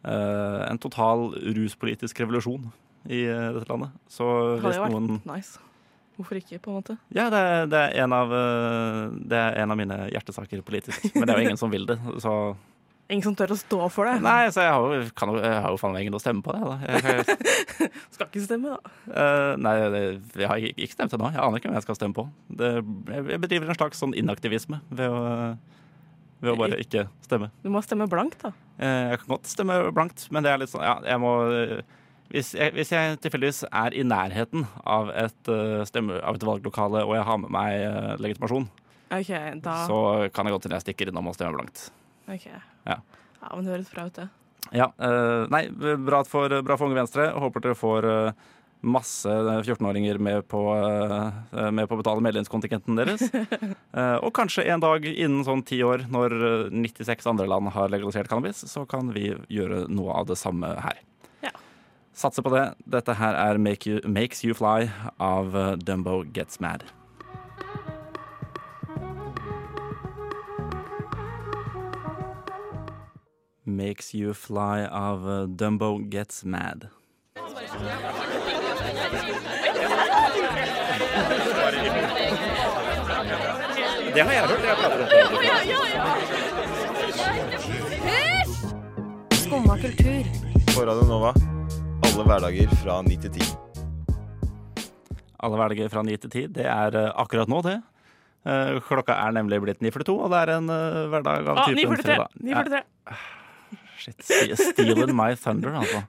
S3: eh, En total ruspolitisk revolusjon i eh, dette landet. Så
S4: Hadde
S3: hvis
S4: jo vært
S3: noen
S4: nice. Hvorfor ikke, på en måte?
S3: Ja, det, er- det, er en av, eh, det er en av mine hjertesaker politisk. Men det er jo ingen som vil det, så
S4: Ingen som tør å stå for det.
S3: Nei, så jeg har jo, kan, jo- jeg har jo faen meg ingen å stemme på det. Da. Jeg, jeg,
S4: Skal ikke stemme, da.
S3: Eh, nei, det, jeg har ikke ikke stemt ennå. Jeg aner ikke hvem jeg skal stemme på. Det, jeg, jeg bedriver en slags sånn inaktivisme ved å, ved å bare ikke stemme.
S4: Du må stemme blankt, da.
S3: Eh, jeg kan godt stemme blankt, men det er litt sånn Ja, jeg må eh, Hvis jeg, hvis jeg tilfeldigvis er i nærheten av et, eh, stemme, av et valglokale og jeg har med meg eh, legitimasjon,
S4: OK, da
S3: så kan jeg godt hende jeg stikker innom og stemmer blankt.
S4: ok.
S3: Ja.
S4: ja, men det høres bra ut, det.
S3: Ja, eh, nei, bra for, bra for Unge Venstre. Håper dere får eh, masse 14-åringer med, på, eh, med på å betale medlemskontingenten deres. Eh, Og kanskje en dag innen sånn ti år, når eh, 96 andre land har legalisert cannabis, så kan vi gjøre noe av det samme her.
S4: Ja.
S3: Satser på det. Dette her er Make you, Makes You Fly av eh, Dumbo Gets Mad. Makes You Fly av eh, Dumbo Gets Mad. Det har jeg hørt.
S7: Skumma kultur.
S8: På Radio Nova. Alle hverdager fra 9 til 10.
S3: Alle hverdager fra 9 til 10. Det er eh, akkurat nå, det. Eh, Klokka er nemlig blitt 9.42, og det er en eh, hverdag av
S4: Ah,
S3: typen
S4: 9.43.
S3: fredag. Ja,
S4: 9.43.
S3: Shit, ste- stealing my thunder, altså.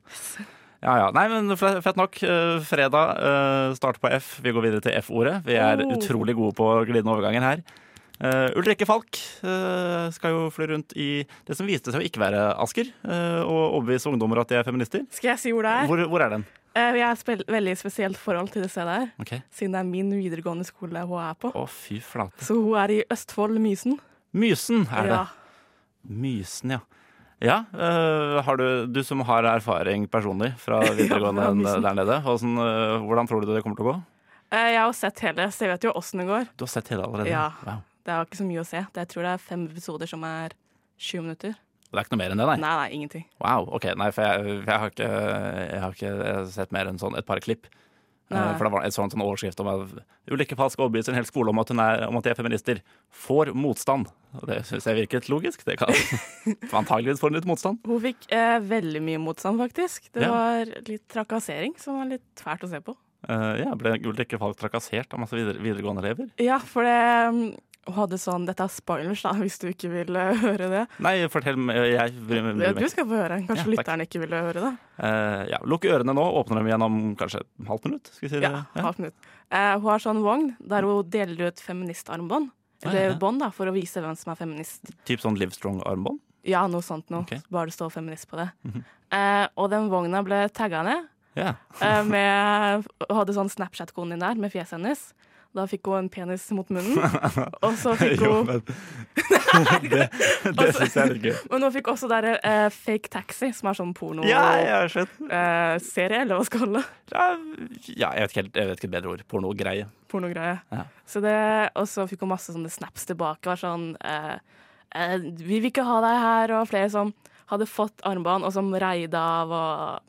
S3: Ja, ja. Nei, men fle- fett nok. Eh, Fredag, eh, start på F. Vi går videre til F-ordet. Vi er
S4: Oh.
S3: utrolig gode på glidende overganger her. Eh, Ulrikke Falk eh, skal jo fly rundt i det som viste seg å ikke være Asker, eh, og overbevise ungdommer at de er feminister.
S4: Skal jeg si hvor det er?
S3: Hvor, hvor er den?
S4: Eh, Jeg har et veldig spesielt forhold til det stedet her,
S3: Ok.
S4: siden det er min videregående skole hun er på.
S3: Å, fy flate.
S4: Så hun er i Østfold, Mysen.
S3: Mysen er det.
S4: Ja.
S3: Mysen, ja. Ja, øh, har du, du som har erfaring personlig fra videregående
S4: fra Mysen.
S3: der nede, hvordan, øh, hvordan tror du det kommer til å gå?
S4: Eh, Jeg har jo sett hele, så jeg vet jo åssen det går.
S3: Du har sett hele allerede?
S4: Ja.
S3: Wow.
S4: Det er jo ikke så mye å se. Det- Jeg tror det er fem episoder som er sju minutter.
S3: Det er ikke noe mer enn det, nei?
S4: Nei, nei, ingenting.
S3: Wow, ok, nei, for jeg, for jeg, har, ikke, jeg har ikke sett mer enn sånn et par klipp. Eh,
S4: Nei.
S3: For det var en sånn, sånn overskrift om at Ulrikke Falsk overbeviser en hel skole om at, hun er, om at de er feminister. Får motstand. Og det syns jeg virket logisk. Det kan antageligvis få litt motstand.
S4: Hun fikk eh, veldig mye motstand, faktisk. Det
S3: Ja.
S4: var litt trakassering, som var litt fælt å se på.
S3: Eh, ja, ble Ulrikke Falk trakassert av masse videre, videregående elever?
S4: Ja, for det mm, Hun hadde sånn Dette er spoilers, da, hvis du ikke vil eh, høre det.
S3: Nei, fortell meg. Jeg bryr meg bryr meg
S4: Du
S3: ikke.
S4: skal få høre. Kanskje
S3: Ja, takk.
S4: lytterne ikke ville høre det.
S3: Eh, ja, Lukk ørene nå, åpner dem igjen om kanskje et halvt minutt. Skal vi si det?
S4: Ja, halvt minutt. Eh, hun har sånn vogn der hun deler ut feministarmbånd.
S3: Ah,
S4: Eller
S3: ja.
S4: bånd, da, for å vise hvem som er feminist.
S3: Typ sånn Livestrong-armbånd.
S4: Ja, noe sånt noe.
S3: Ok. Mhm.
S4: Bare det står feminist på det. eh, og den vogna ble tagga ned.
S3: Ja.
S4: Eh, med, hun hadde sånn Snapchat-konen din der med fjeset hennes. Da fikk hun en penis mot munnen. Og så fikk
S3: Jo,
S4: hun
S3: men Det, det syns jeg er litt gøy.
S4: Men hun fikk også der eh, Fake Taxi, som er sånn
S3: Ja, jeg har sett
S4: porno-serie, eller hva skal kalle det.
S3: Ja, ja, jeg vet ikke helt jeg vet ikke et bedre ord. Pornogreie.
S4: Pornogreie.
S3: Ja.
S4: Så det- Og så fikk hun masse sånne snaps tilbake. Var sånn eh, eh, 'Vi vil ikke ha deg her', og flere som hadde fått armbånd, og som reide av, og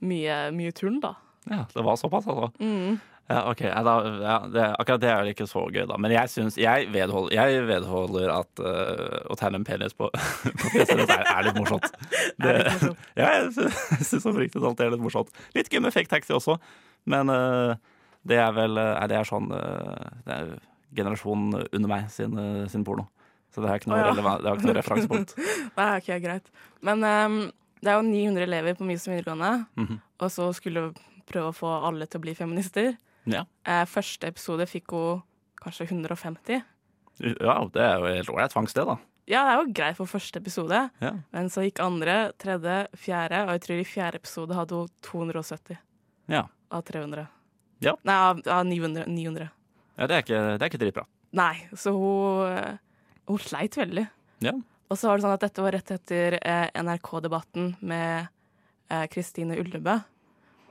S4: mye, mye tull, da.
S3: Ja, det var såpass, altså.
S4: Mm.
S3: Ja, ok, ja, da, ja, det, Akkurat det er vel ikke så gøy, da. Men jeg, syns, jeg, vedhold, jeg vedholder at eh, å tegne en penis på, på fjeset ditt er, er litt morsomt.
S4: Det sånn er litt morsomt.
S3: Ja, jeg sy- syns oppriktig talt det er litt morsomt. Litt gøy med fake taxi også, men eh, det er vel eh, nei, Det er sånn eh, Det er generasjonen under meg sin, eh, sin porno. Så det har ikke noe,
S4: Å, ja.
S3: relevan- det har ikke noe referansepunkt.
S4: Nei, Ah, ok, greit. Men ehm, det er jo 900 elever på Mysen videregående,
S3: Mhm.
S4: og så skulle hun prøve å få alle til å bli feminister.
S3: Ja.
S4: Eh, første episode fikk hun kanskje 150.
S3: ja, det er jo helt ålreit fangsted, da.
S4: Ja, det er jo greit for første episode,
S3: Ja.
S4: men så gikk andre, tredje, fjerde, og jeg tror i fjerde episode hadde hun 270
S3: Ja.
S4: av 300.
S3: Ja.
S4: Nei, av, av 900, 900.
S3: Ja, det er ikke, det er ikke dritbra.
S4: Nei, så hun, eh, hun sleit veldig.
S3: Ja.
S4: Og så var det sånn at dette var rett etter eh, NRK-debatten med eh, Kristine Ullebø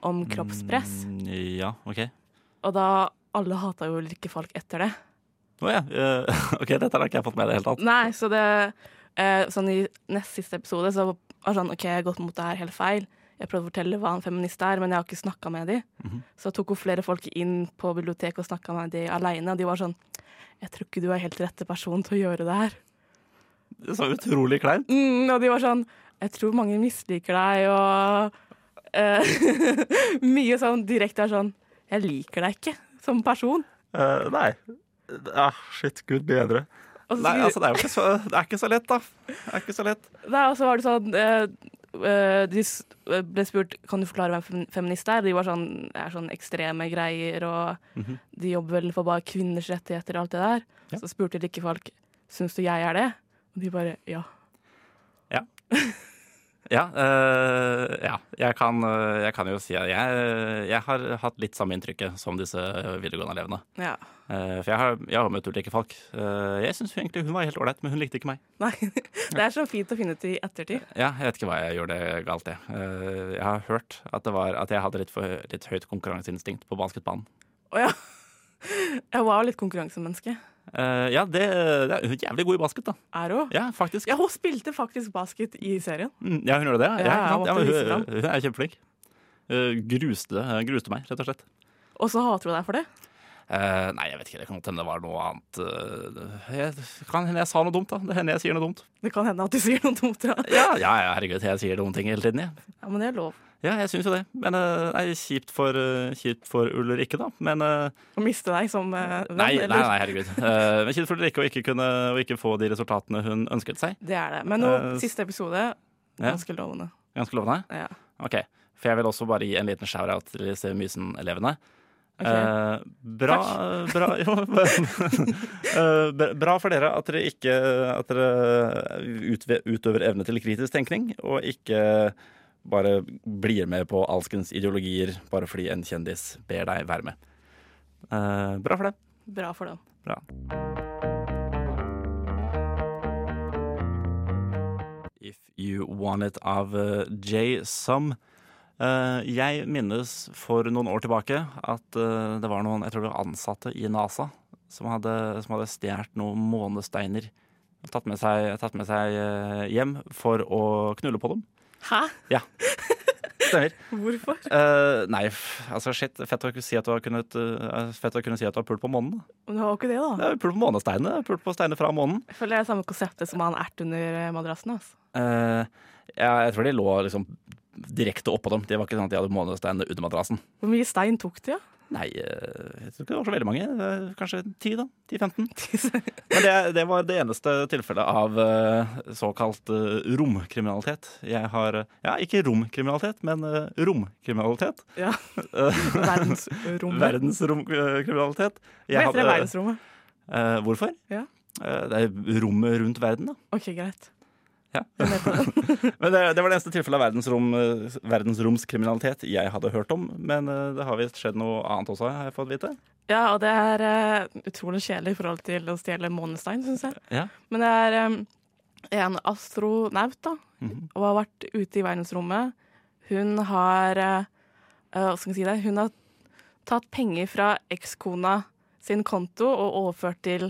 S4: om kroppspress.
S3: Mm, Ja, OK.
S4: Og da alle hata jo Ulrikke Falk etter det.
S3: Å ja. eh, OK, dette har ikke jeg fått med i det hele tatt.
S4: Nei, så det eh, Sånn i nest siste episode så var det sånn OK, jeg har gått mot det her helt feil. Jeg prøvde å fortelle hva en feminist er, men jeg har ikke snakka med de. Så tok hun flere folk inn på biblioteket og snakka med de aleine, og de var sånn Jeg tror ikke du er helt rette person til å gjøre det her.
S3: Så utrolig kleint.
S4: Mm, og de var sånn Jeg tror mange misliker deg, og eh, Mye sånn direkte er sånn Jeg liker deg ikke som person.
S3: Eh, nei. Ah, shit, gud bedre.
S4: Og så,
S3: Nei,
S4: skulle-
S3: altså, det er jo ikke så, det er ikke så lett, da. Det er ikke så lett.
S4: Nei, og så var det sånn eh, eh, De s- ble spurt Kan du forklare hvem fem- feminist er. De var sånn, er sånn ekstreme greier, og de jobber vel for bare kvinners rettigheter og alt det der.
S3: Mhm. Ja.
S4: Så spurte de ikke folk Syns du jeg er det. Og de bare ja.
S3: Ja, eh, ja. Jeg, kan, eh, jeg kan jo si at jeg, jeg har hatt litt samme inntrykket som disse videregående-elevene.
S4: Ja.
S3: Eh, for jeg har, jeg har møtt ulike folk. Eh, jeg syns egentlig hun var helt ålreit, men hun likte ikke meg.
S4: Nei. Det er så fint å finne ut i ettertid.
S3: Ja, jeg vet ikke hva jeg gjorde galt, jeg. Eh, jeg har hørt at, det var, at jeg hadde litt, for, litt høyt konkurranseinstinkt på basketbanen.
S4: Å ja. Jeg var jo litt konkurransemenneske.
S3: Eh, ja, det, det er hun er jævlig god i basket, da.
S4: Er hun?
S3: Ja, faktisk.
S4: Ja, hun spilte faktisk basket i serien.
S3: Mm, ja hun gjorde det? Ja,
S4: Ja,
S3: ikke sant?
S4: jeg
S3: ja,
S4: måtte
S3: men
S4: vise fram.
S3: hun, hun er kjempeflink. Eh, gruste, eh, gruste meg, rett og slett.
S4: Og så hater hun deg for det.
S3: Eh, nei, jeg vet ikke. Det kan godt hende det var noe annet eh, jeg, det Kan hende jeg sa noe dumt, da. Det hender jeg sier noe dumt.
S4: Det kan hende at du sier noe dumt. Ja,
S3: Ja, ja, ja herregud, jeg sier dumme ting hele tiden, jeg.
S4: ja men det er lov.
S3: Ja, jeg syns jo det. Men eh, nei, kjipt for, eh, kjipt for Ulrikke, da. Men eh,
S4: Å miste deg som eh, venn.
S3: nei, nei,
S4: eller-
S3: nei, herregud. Eh, men kjipt for Ulrikke å ikke kunne å ikke få de resultatene hun ønsket seg.
S4: Det er det. Men nå,
S3: Eh,
S4: siste episode, ganske lovende.
S3: Ganske lovende.
S4: Ja.
S3: Ok, For jeg vil også bare gi en liten shout-out til disse Mysen-elevene.
S4: Ok.
S3: Eh, bra, bra, jo, Eh, bra- bra for dere at dere ikke At dere utve- utøver evne til kritisk tenkning, og ikke bare blir med på alskens ideologier bare fordi en kjendis ber deg være med. Eh, bra for det.
S4: Bra for dem.
S3: Bra. If You Want It av eh, J. Sum. Eh, jeg minnes for noen år tilbake at eh, det var noen jeg tror det var ansatte i NASA som hadde, som hadde stjålet noen månesteiner og tatt med seg, tatt med seg eh, hjem for å knulle på dem.
S4: Hæ?
S3: Stemmer.
S4: Hvorfor?
S3: Eh, nei, f- altså shit, fett å kunne si at du har kunnet eh, Fett å kunne si at du har pult på månen. da.
S4: Men det var jo ikke det, da.
S3: Det er jo Pult på månesteinene. Pult på steiner fra månen.
S4: Jeg føler det er samme konseptet som han ert under eh, madrassen. Altså.
S3: Eh, ja, jeg tror de lå liksom direkte oppå dem. Det var ikke sånn at de hadde månesteinene under madrassen.
S4: Hvor mye stein tok de, da?
S3: Nei, eh, jeg tror ikke det var så veldig mange. Eh, Kanskje 10, da. 10-15. Men det, det var det eneste tilfellet av eh, såkalt eh, romkriminalitet. Jeg har eh, Ja, ikke romkriminalitet, men eh, romkriminalitet.
S4: Ja.
S3: Eh,
S4: Verdensrommet.
S3: Verdens romkriminalitet. Jeg
S4: Hva heter det
S3: hadde-
S4: verdensrommet?
S3: eh, hvorfor?
S4: Ja.
S3: Eh, det er rommet rundt verden, da.
S4: OK, greit.
S3: Ja.
S4: Jeg er med på det.
S3: Men det, det var det eneste tilfellet av verdensrom, verdensromskriminalitet jeg hadde hørt om. Men eh, det har visst skjedd noe annet også, har jeg fått vite.
S4: ja, og det er eh, utrolig kjedelig i forhold til å stjele månestein, syns jeg.
S3: Ja.
S4: Men det er eh, en astronaut, da,
S3: Mhm.
S4: og har vært ute i verdensrommet. Hun har eh, eh, Hva skal jeg si det? Hun har tatt penger fra ekskona sin konto og overført til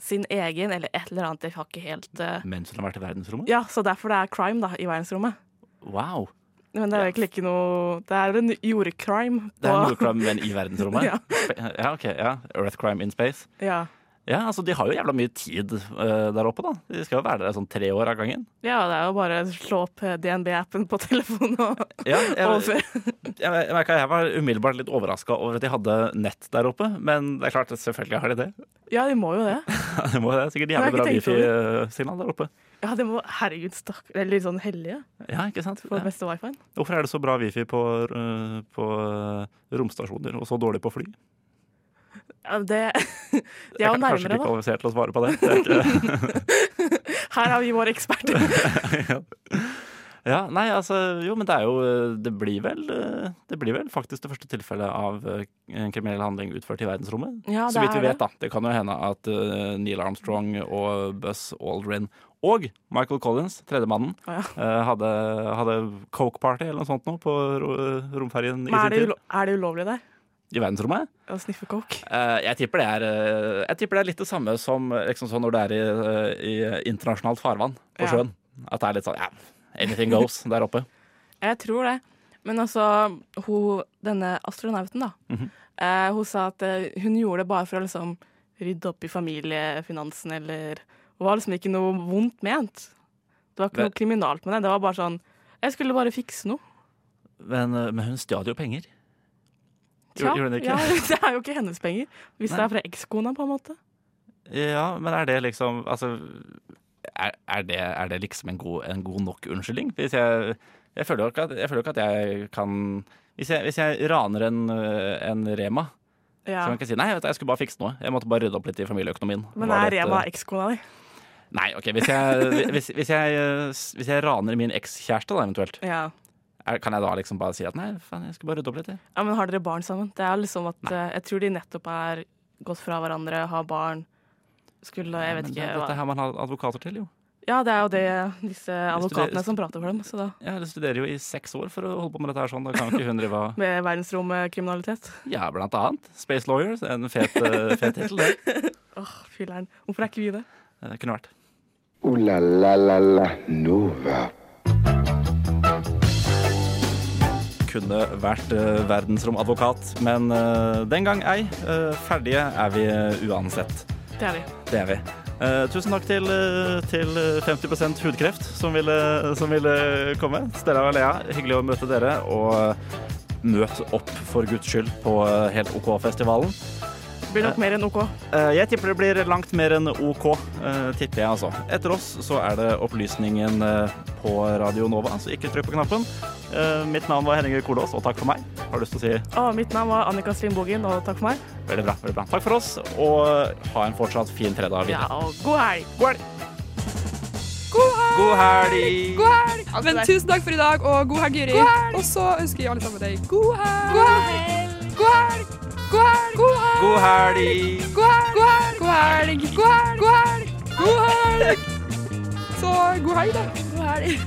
S4: sin egen, eller et eller annet. Jeg har ikke helt eh,
S3: Mens hun har vært i verdensrommet?
S4: Ja, så derfor det er crime, da, i verdensrommet.
S3: Wow!
S4: Men det er jo egentlig ikke noe Det er en jordecrime.
S3: Det er
S4: på-
S3: noe crime, men i verdensrommet?
S4: Ja.
S3: ja, ok. ja. Earth crime in space.
S4: Ja.
S3: Ja, altså De har jo jævla mye tid eh, der oppe, da. De skal jo være der sånn tre år av gangen.
S4: ja, det er jo bare å slå opp eh, DNB-appen på telefonen og
S3: Ja, jeg,
S4: overføre.
S3: jeg, jeg, merket jeg var umiddelbart litt overraska over at de hadde nett der oppe, men det er klart, selvfølgelig har de det.
S4: Ja, de må jo det.
S3: Det må det er sikkert
S4: har
S3: jævlig
S4: ikke
S3: bra
S4: tenkt over
S3: wifi-signal der oppe.
S4: Ja, de må, Herregud, stakkar. Eller litt sånn hellige
S3: Ja, ikke sant?
S4: på
S3: Ja.
S4: den beste wifien.
S3: Hvorfor er det så bra wifi på, øh, på øh, romstasjoner, og så dårlig på fly?
S4: Ja, det De er jo
S3: jeg er kanskje
S4: nærmere,
S3: ikke
S4: da.
S3: kvalifisert til å svare på det. det er ikke,
S4: Her har vi våre eksperter.
S3: ja, nei, altså, jo, men det er jo øh, Det blir vel, øh, det blir vel faktisk det første tilfellet av øh, en kriminell handling utført i verdensrommet.
S4: Ja, det
S3: så vidt
S4: er
S3: vi vet,
S4: det.
S3: da. Det kan jo hende at øh, Neil Armstrong og Buzz Aldrin og Michael Collins, tredjemannen,
S4: Å, ja.
S3: øh, hadde, hadde coke-party eller noe sånt nå på ro- romferjen i
S4: Men er
S3: sin
S4: det,
S3: tid.
S4: ulo er det ulovlig der?
S3: I verdensrommet.
S4: Å sniffe coke?
S3: Eh, jeg, tipper det er, eh, jeg tipper det er litt det samme som eh, liksom sånn når det er i, eh, i internasjonalt farvann på
S4: Ja.
S3: sjøen. At det er litt sånn ja, anything goes der oppe.
S4: Jeg tror det. Men altså, hun, denne astronauten, da.
S3: Mhm.
S4: eh, hun sa at eh, hun gjorde det bare for å liksom rydde opp i familiefinansen, eller Hun var liksom ikke noe vondt ment. Det var ikke
S3: Vel-
S4: noe kriminalt med det. Det var bare sånn Jeg skulle bare fikse noe.
S3: Men, eh, men hun stjal jo penger.
S4: Tja,
S3: Gjorde- gjorde hun det ikke?
S4: Ja, det er jo ikke hennes penger. Hvis det
S3: Nei.
S4: er fra ekskona, på en måte.
S3: Ja, men er det liksom Altså, er, er, det, er det liksom en god, en god nok unnskyldning? Hvis jeg, jeg, føler jo ikke at, jeg føler jo ikke at jeg kan Hvis jeg, hvis jeg raner en, eh, en Rema, så
S4: Ja.
S3: kan jeg ikke si nei, vet du, jeg skulle bare fikse noe. Jeg måtte bare rydde opp litt i familieøkonomien. Var
S4: Men er
S3: litt, eh,
S4: Rema ekskona di?
S3: Nei, OK. Hvis jeg, hvis, hvis jeg, eh, s- hvis jeg raner min ekskjæreste, da eventuelt,
S4: Ja.
S3: er, kan jeg da liksom bare si at nei, faen, jeg skulle bare rydde opp litt, jeg.
S4: ja, men har dere barn sammen? Det er liksom at eh, Jeg tror de nettopp er gått fra hverandre, har barn, skulle Jeg vet
S3: Men det
S4: ikke
S3: er
S4: hva
S3: dette her man har advokater til, jo.
S4: Ja, det er jo det disse advokatene
S3: studerer-
S4: som prater for dem, så da.
S3: Ja, de studerer jo i seks år for å holde på med dette her sånn. Da kan ikke hun drive og
S4: Med verdensromkriminalitet.
S3: Ja, blant annet. Space Lawyers er en fet, eh, fet tittel, det.
S4: Åh, filleren. Hvorfor er ikke vi det?
S3: Eh, Kunne vært.
S2: Ooh la la la la Nova.
S3: Kunne vært eh, verdensromadvokat, men eh, den gang ei. Eh, ferdige er vi eh, uansett.
S4: Det er vi.
S3: Det er vi. Eh, tusen takk til, eh, til eh, 50 hudkreft som ville, som ville komme. Stella og Lea, hyggelig å møte dere. Og eh, møt opp, for guds skyld, på eh, Helt OK-festivalen.
S4: Blir nok mer enn OK.
S3: Eh, Jeg tipper det blir langt mer enn OK, eh, tipper jeg altså. Etter oss så er det opplysningen eh, på Radio Nova, så ikke trykk på knappen. Eh, Mitt navn var Henning Kolås, og takk for meg. Har du lyst til å si
S4: Å, mitt navn var Annika Strindbogen, og takk for meg.
S3: veldig bra, veldig bra. Takk for oss, og ha en fortsatt fin fredag
S4: Ja,
S3: videre.
S4: og god helg!
S3: God helg! God helg!
S9: God helg! Men tusen takk for i dag, og god helg, Juri. Og så ønsker vi alle sammen deg god helg! God helg! God helg! God helg! God helg!
S3: God helg!
S9: God helg! God helg! God helg! God helg! God helg! Så god helg, da. God helg.